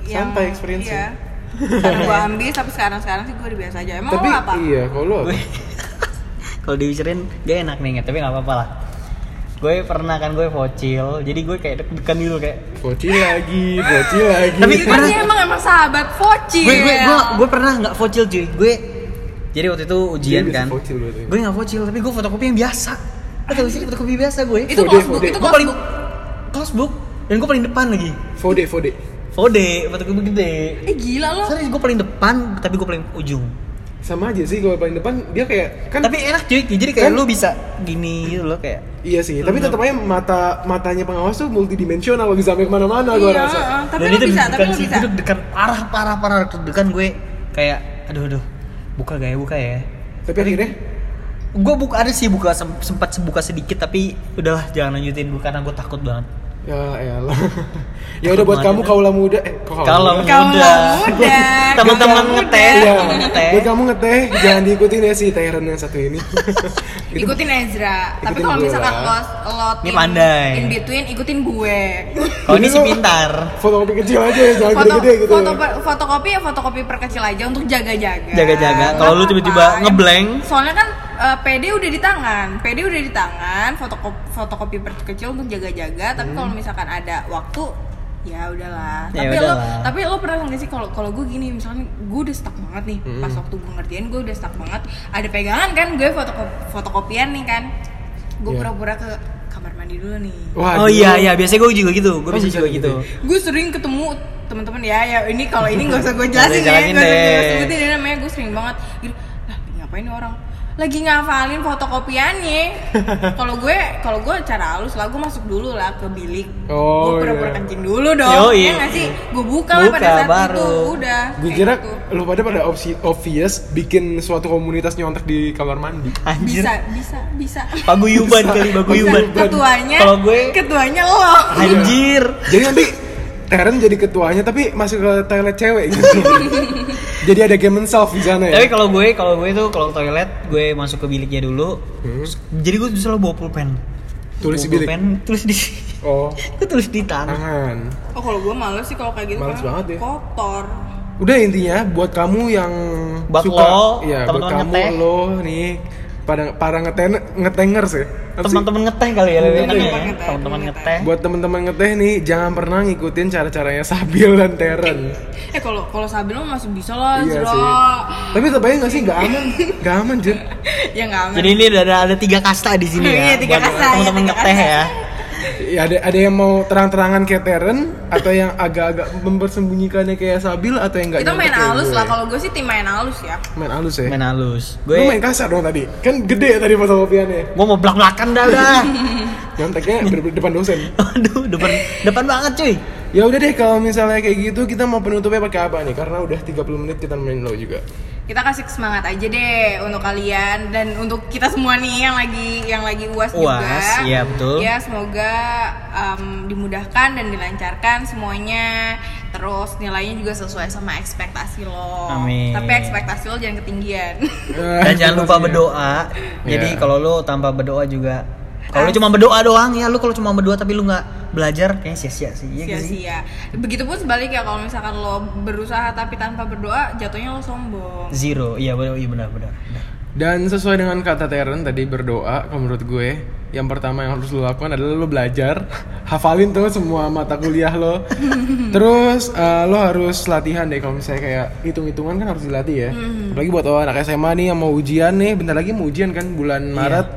Speaker 3: yang
Speaker 2: Santai experience
Speaker 3: iya. karena gue ambis tapi sekarang sekarang sih gue udah biasa aja emang
Speaker 2: Tapi
Speaker 3: lo apa
Speaker 2: iya, kalau lo apa?
Speaker 1: gue kalau dibicarain gak enak nih ingat tapi nggak apa-apa lah gue pernah kan gue vocil jadi gue kayak deg-degan gitu kayak
Speaker 2: bocil lagi, bocil lagi.
Speaker 1: Tapi-
Speaker 3: Itu kan
Speaker 1: Pernah-
Speaker 3: dia emang emang sahabat Foci
Speaker 1: gue gue gue, gue pernah nggak vocil cuy gue jadi waktu itu ujian
Speaker 2: Dia bisa
Speaker 1: kan
Speaker 2: vocil berarti.
Speaker 1: gue nggak vocil tapi gue fotokopi yang biasa Atau sih dapat kopi biasa gue.
Speaker 2: Fode,
Speaker 3: Itu close book,
Speaker 2: Fode.
Speaker 3: itu
Speaker 1: gue
Speaker 3: close
Speaker 1: paling
Speaker 3: book.
Speaker 1: close book dan gue paling depan lagi.
Speaker 2: Fode, Fode.
Speaker 1: Fode, fotokopi gede.
Speaker 3: Eh gila lo.
Speaker 1: Serius gue paling depan, tapi gue paling ujung.
Speaker 2: Sama aja sih kalau paling depan dia kayak kan
Speaker 1: Tapi enak cuy, jadi kayak
Speaker 2: Kan-
Speaker 1: lu bisa gini gitu loh kayak.
Speaker 2: Iya sih, tapi tetap aja mata matanya pengawas tuh multidimensional bisa sampai kemana-mana gue
Speaker 3: Iya,
Speaker 2: rasa.
Speaker 3: eh, tapi lo bisa, tapi lo
Speaker 1: sih,
Speaker 3: bisa.
Speaker 1: itu dekan parah parah parah dekan gue kayak aduh aduh buka gak ya buka ya.
Speaker 2: Tapi akhirnya
Speaker 1: Gue buka ada sih buka sem- sempat buka sedikit tapi udahlah jangan lanjutin gue karena gue takut banget.
Speaker 2: ya elah. ya udah buat kamu kaula muda eh kok kaula
Speaker 1: Kalau
Speaker 2: muda?
Speaker 3: Kalau
Speaker 1: muda,
Speaker 3: muda,
Speaker 1: teman-teman
Speaker 3: kalau
Speaker 1: ngeteh,
Speaker 3: muda.
Speaker 2: Iya,
Speaker 1: teman ngeteh.
Speaker 2: buat kamu ngeteh jangan diikutin ya si Tyron yang satu ini. Gitu. Itu-
Speaker 3: Ikutin Ezra,
Speaker 2: Ikutin
Speaker 3: tapi kalau
Speaker 2: gue
Speaker 3: misalkan lo,
Speaker 2: lah.
Speaker 3: lo
Speaker 1: Ini
Speaker 3: tim
Speaker 1: pandai.
Speaker 3: in between ikutin gue.
Speaker 1: Kalau ini
Speaker 2: Jadi
Speaker 1: sih
Speaker 2: lu-
Speaker 1: pintar.
Speaker 2: Foto kopi kecil aja ya, jangan
Speaker 3: Foto,
Speaker 2: gede-gede gitu.
Speaker 3: foto per- fotokopi ya fotokopi perkecil aja untuk jaga-jaga.
Speaker 1: Jaga-jaga.
Speaker 3: Nggak
Speaker 1: Kalau lu
Speaker 3: apa-apa.
Speaker 1: tiba-tiba ngeblank.
Speaker 3: Soalnya kan eh, PD udah di tangan, PD udah di tangan, fotokopi fotokopi perkecil untuk jaga-jaga.
Speaker 2: Hmm.
Speaker 3: Tapi kalau misalkan ada waktu ya udahlah.
Speaker 1: Ya
Speaker 3: tapi lo
Speaker 1: udahlah.
Speaker 3: tapi lo pernah nggak sih kalau kalau gue gini misalnya gue udah stuck banget nih
Speaker 2: Hmm.
Speaker 3: pas waktu gue ngertiin gue udah stuck banget ada pegangan kan gue fotokopi fotokopian nih kan gue
Speaker 2: Iya.
Speaker 3: pura-pura ke kamar mandi dulu nih
Speaker 1: Oh
Speaker 2: Waduh.
Speaker 1: iya iya, biasanya gue juga gitu, gue
Speaker 2: Oh,
Speaker 1: bisa
Speaker 2: bisa
Speaker 1: juga
Speaker 2: gitu.
Speaker 1: gitu.
Speaker 3: gue sering ketemu teman-teman ya ya ini kalau ini nggak usah gue jelasin
Speaker 1: Nggak usah
Speaker 3: ya nggak
Speaker 1: jelasin
Speaker 3: usah gue
Speaker 1: deh.
Speaker 3: sebutin ini namanya gue sering banget gitu lah ngapain nih orang lagi ngafalin fotokopiannya kalau gue kalau gue cara halus lah gue masuk dulu lah ke bilik
Speaker 2: Oh,
Speaker 3: gue pura-pura
Speaker 2: iya.
Speaker 3: kencing dulu dong
Speaker 1: Yoi.
Speaker 3: ya nggak sih gue buka, lah pada
Speaker 1: Buka,
Speaker 3: saat
Speaker 1: baru.
Speaker 3: itu udah
Speaker 2: Gue
Speaker 3: kayak
Speaker 2: kira
Speaker 3: gitu.
Speaker 2: lu pada pada opsi obvious bikin suatu komunitas nyontek di kamar mandi.
Speaker 1: Anjir.
Speaker 3: bisa bisa bisa
Speaker 1: Paguyuban kali
Speaker 3: bisa
Speaker 1: paguyuban.
Speaker 3: ketuanya
Speaker 1: Kalau gue-
Speaker 3: ketuanya lo
Speaker 1: Anjir.
Speaker 2: Jadi nanti Teren jadi ketuanya tapi masuk ke toilet cewek gitu. jadi ada game and self di sana ya.
Speaker 1: Tapi kalau gue, kalau gue tuh kalau toilet gue masuk ke biliknya dulu. Terus- Jadi gue tuh selalu bawa pulpen.
Speaker 2: Tulis
Speaker 1: Bawa
Speaker 2: di bilik?
Speaker 1: Pulpen, tulis di
Speaker 2: Oh,
Speaker 1: gue tulis di tanah.
Speaker 2: tangan.
Speaker 3: oh kalau gue males sih kalau kayak gitu
Speaker 2: Males
Speaker 3: karena
Speaker 2: banget ya.
Speaker 3: kotor
Speaker 2: Udah intinya buat kamu yang
Speaker 1: Buat
Speaker 2: suka
Speaker 1: lo,
Speaker 2: iya, buat
Speaker 1: teman-teman
Speaker 2: kamu
Speaker 1: ngeteh.
Speaker 2: lo nih pada para ngeten ngetengers ya. Apa sih?
Speaker 1: Teman-teman ngeteh kali ya lebih enak ya.
Speaker 3: Teman-teman ngeteh,
Speaker 1: Teman-teman ngeteh.
Speaker 2: Buat teman-teman ngeteh nih jangan pernah ngikutin cara-caranya Sabil dan Teren.
Speaker 3: eh kalau kalau sabil mah masih bisa lah
Speaker 2: iya
Speaker 3: Zro.
Speaker 2: sih. Tapi terbayang gak sih gak aman? Gak aman, Jer.
Speaker 3: ya nggak aman
Speaker 1: Jadi ini ada ada tiga kasta di sini ya.
Speaker 3: Iya, tiga
Speaker 1: buat
Speaker 3: kasta,
Speaker 1: Teman-teman
Speaker 3: iya, tiga
Speaker 1: ngeteh
Speaker 3: kasta.
Speaker 1: ya.
Speaker 2: Ya, ada ada yang mau terang-terangan kayak Teren atau yang agak-agak mempersembunyikannya kayak Sabil atau yang gak
Speaker 3: kita main halus lah
Speaker 2: kalau
Speaker 3: kalau gue sih tim main halus ya
Speaker 2: main halus ya.
Speaker 1: Main halus.
Speaker 2: Lu
Speaker 1: Gue
Speaker 2: main kasar dong tadi. Kan gede ya tadi fotokopiannya.
Speaker 1: gue mau belak-belakan dah dah.
Speaker 2: Nyonteknya ber- depan dosen.
Speaker 1: Aduh, depan depan banget cuy.
Speaker 2: Ya udah deh kalau misalnya kayak gitu kita mau penutupnya pakai apa nih? Karena udah 30 menit kita main lo juga.
Speaker 3: kita kasih semangat aja deh untuk kalian dan untuk kita semua nih yang lagi yang lagi uas, juga
Speaker 1: UAS, iya, betul.
Speaker 3: ya semoga em, dimudahkan dan dilancarkan semuanya terus nilainya juga sesuai sama ekspektasi lo
Speaker 1: Amin.
Speaker 3: tapi ekspektasi lo jangan ketinggian
Speaker 1: Dan jangan lupa berdoa. Jadi
Speaker 2: Iya.
Speaker 1: kalau lu tanpa berdoa juga kalau lu cuma berdoa doang ya lu kalau cuma berdoa tapi lu nggak belajar kayaknya sia-sia sih. Iya nggak sih?
Speaker 3: sia-sia begitupun sebaliknya kalau misalkan lo berusaha tapi tanpa berdoa jatuhnya lo sombong
Speaker 1: Zero. Iya benar iya benar benar. benar.
Speaker 2: Dan sesuai dengan kata Teren tadi berdoa, kalau menurut gue yang pertama yang harus lo lakukan adalah lo belajar, hafalin tuh semua mata kuliah lo. Terus eh, lo harus latihan deh kalau misalnya kayak hitung-hitungan kan harus dilatih ya. Apalagi buat lo anak SMA nih yang mau ujian nih, bentar lagi mau ujian kan bulan Maret.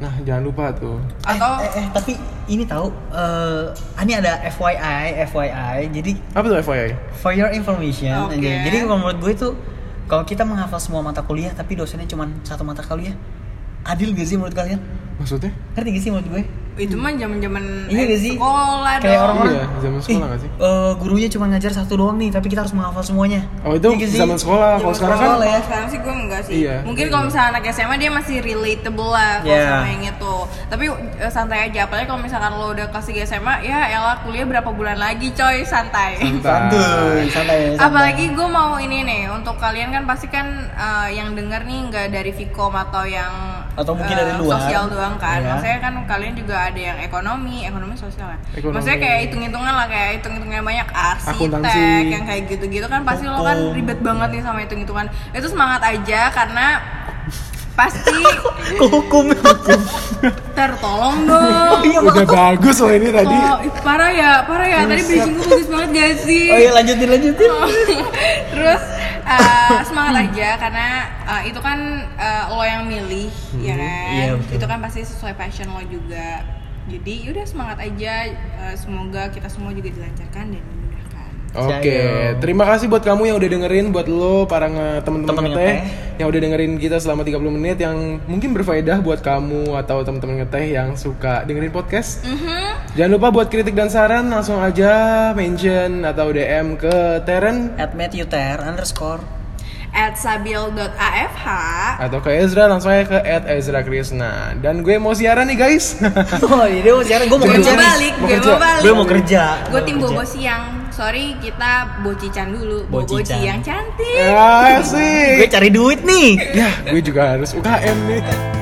Speaker 2: Nah jangan lupa tuh.
Speaker 3: atau
Speaker 1: Eh, eh, tapi ini tahu eh ini ada FYI FYI. Jadi
Speaker 2: Apa tuh FYI?
Speaker 1: for your information
Speaker 3: Oke.
Speaker 1: anjay. Jadi kalau menurut gue itu kalau kita menghafal semua mata kuliah tapi dosennya cuma satu mata kuliah adil gak sih menurut kalian?
Speaker 2: Maksudnya?
Speaker 1: Ngerti gak sih menurut gue?
Speaker 3: itu mah zaman-zaman
Speaker 1: Iya
Speaker 3: eh,
Speaker 1: gak sih?
Speaker 3: sekolah
Speaker 1: Kayak
Speaker 3: dong.
Speaker 1: orang-orang
Speaker 2: Iya, zaman sekolah
Speaker 1: Ih,
Speaker 2: nggak sih?
Speaker 1: eh, gurunya cuma ngajar satu doang nih, tapi kita harus menghafal semuanya.
Speaker 2: Oh itu
Speaker 1: Iya nggak sih?
Speaker 2: zaman sekolah. Kalau
Speaker 3: Zaman
Speaker 2: sekarang kan
Speaker 1: sekolah ya.
Speaker 3: sekarang sih gue enggak sih
Speaker 2: Iya.
Speaker 3: mungkin kalau misalnya anak SMA dia masih relatable lah kalau
Speaker 1: Iya.
Speaker 3: sama yang itu tapi eh, santai aja apalagi kalau misalkan lo udah kelas 3 SMA ya elah kuliah berapa bulan lagi coy santai
Speaker 1: santuy, santai. santai.
Speaker 3: Apalagi gue mau ini nih untuk kalian kan pasti kan eh, yang denger nih nggak dari Vicom atau yang
Speaker 1: Atau mungkin
Speaker 3: eh,
Speaker 1: dari luar.
Speaker 3: sosial doang kan.
Speaker 1: Iya.
Speaker 3: Maksudnya kan kalian juga ada yang ekonomi, ekonomi sosial ya.
Speaker 2: Ekonomi.
Speaker 3: Maksudnya kayak hitung-hitungan lah kayak hitung-hitungan yang banyak
Speaker 2: Akuntansi.
Speaker 3: arsitek yang kayak gitu-gitu kan pasti lo kan
Speaker 1: Hukum.
Speaker 3: ribet banget nih sama hitung-hitungan. Itu semangat aja karena pasti
Speaker 1: Ke hukum.
Speaker 3: tertolong
Speaker 1: Oh,
Speaker 3: dong
Speaker 1: iya.
Speaker 2: Udah bagus loh ini tadi.
Speaker 3: Oh, ih, parah ya, parah ya. Tadi bridging gue bagus banget gak sih?
Speaker 1: Oh iya lanjutin lanjutin.
Speaker 3: Terus eh, semangat aja karena eh, itu kan eh, lo yang milih, ya kan?
Speaker 1: iya, betul.
Speaker 3: Itu kan pasti sesuai passion lo juga. Jadi yaudah semangat aja. Eh, semoga kita semua juga dilancarkan dan dimudahkan.
Speaker 2: Oke,
Speaker 1: Cayo.
Speaker 2: terima kasih buat kamu yang udah dengerin, buat lo para nge- teman-teman
Speaker 1: Temen
Speaker 2: ngeteh
Speaker 1: ngeteh.
Speaker 2: yang udah dengerin kita selama 30 menit yang mungkin berfaedah buat kamu atau teman-teman ngeteh yang suka dengerin podcast.
Speaker 3: Mm-hmm.
Speaker 2: Jangan lupa buat kritik dan saran langsung aja mention atau DM ke Teren
Speaker 1: At Matthew Ter underscore.
Speaker 3: At sabil.afh
Speaker 2: atau ke Ezra langsung aja ke @ezrakrisna. Dan gue mau siaran nih guys.
Speaker 1: Oh iya dia mau siaran. Gue mau
Speaker 3: Gue
Speaker 1: kerja.
Speaker 3: mau
Speaker 1: nih.
Speaker 3: balik,
Speaker 2: Mau
Speaker 3: gue
Speaker 2: kerja.
Speaker 3: mau balik
Speaker 1: Gue mau kerja.
Speaker 3: Gue tim
Speaker 1: mau kerja.
Speaker 3: bobo siang Sorry kita bocican dulu Bobo
Speaker 1: Bocican.
Speaker 3: yang cantik
Speaker 2: ya
Speaker 1: Gue
Speaker 2: sih.
Speaker 1: cari duit nih.
Speaker 2: Ya, gue juga harus UKM nih.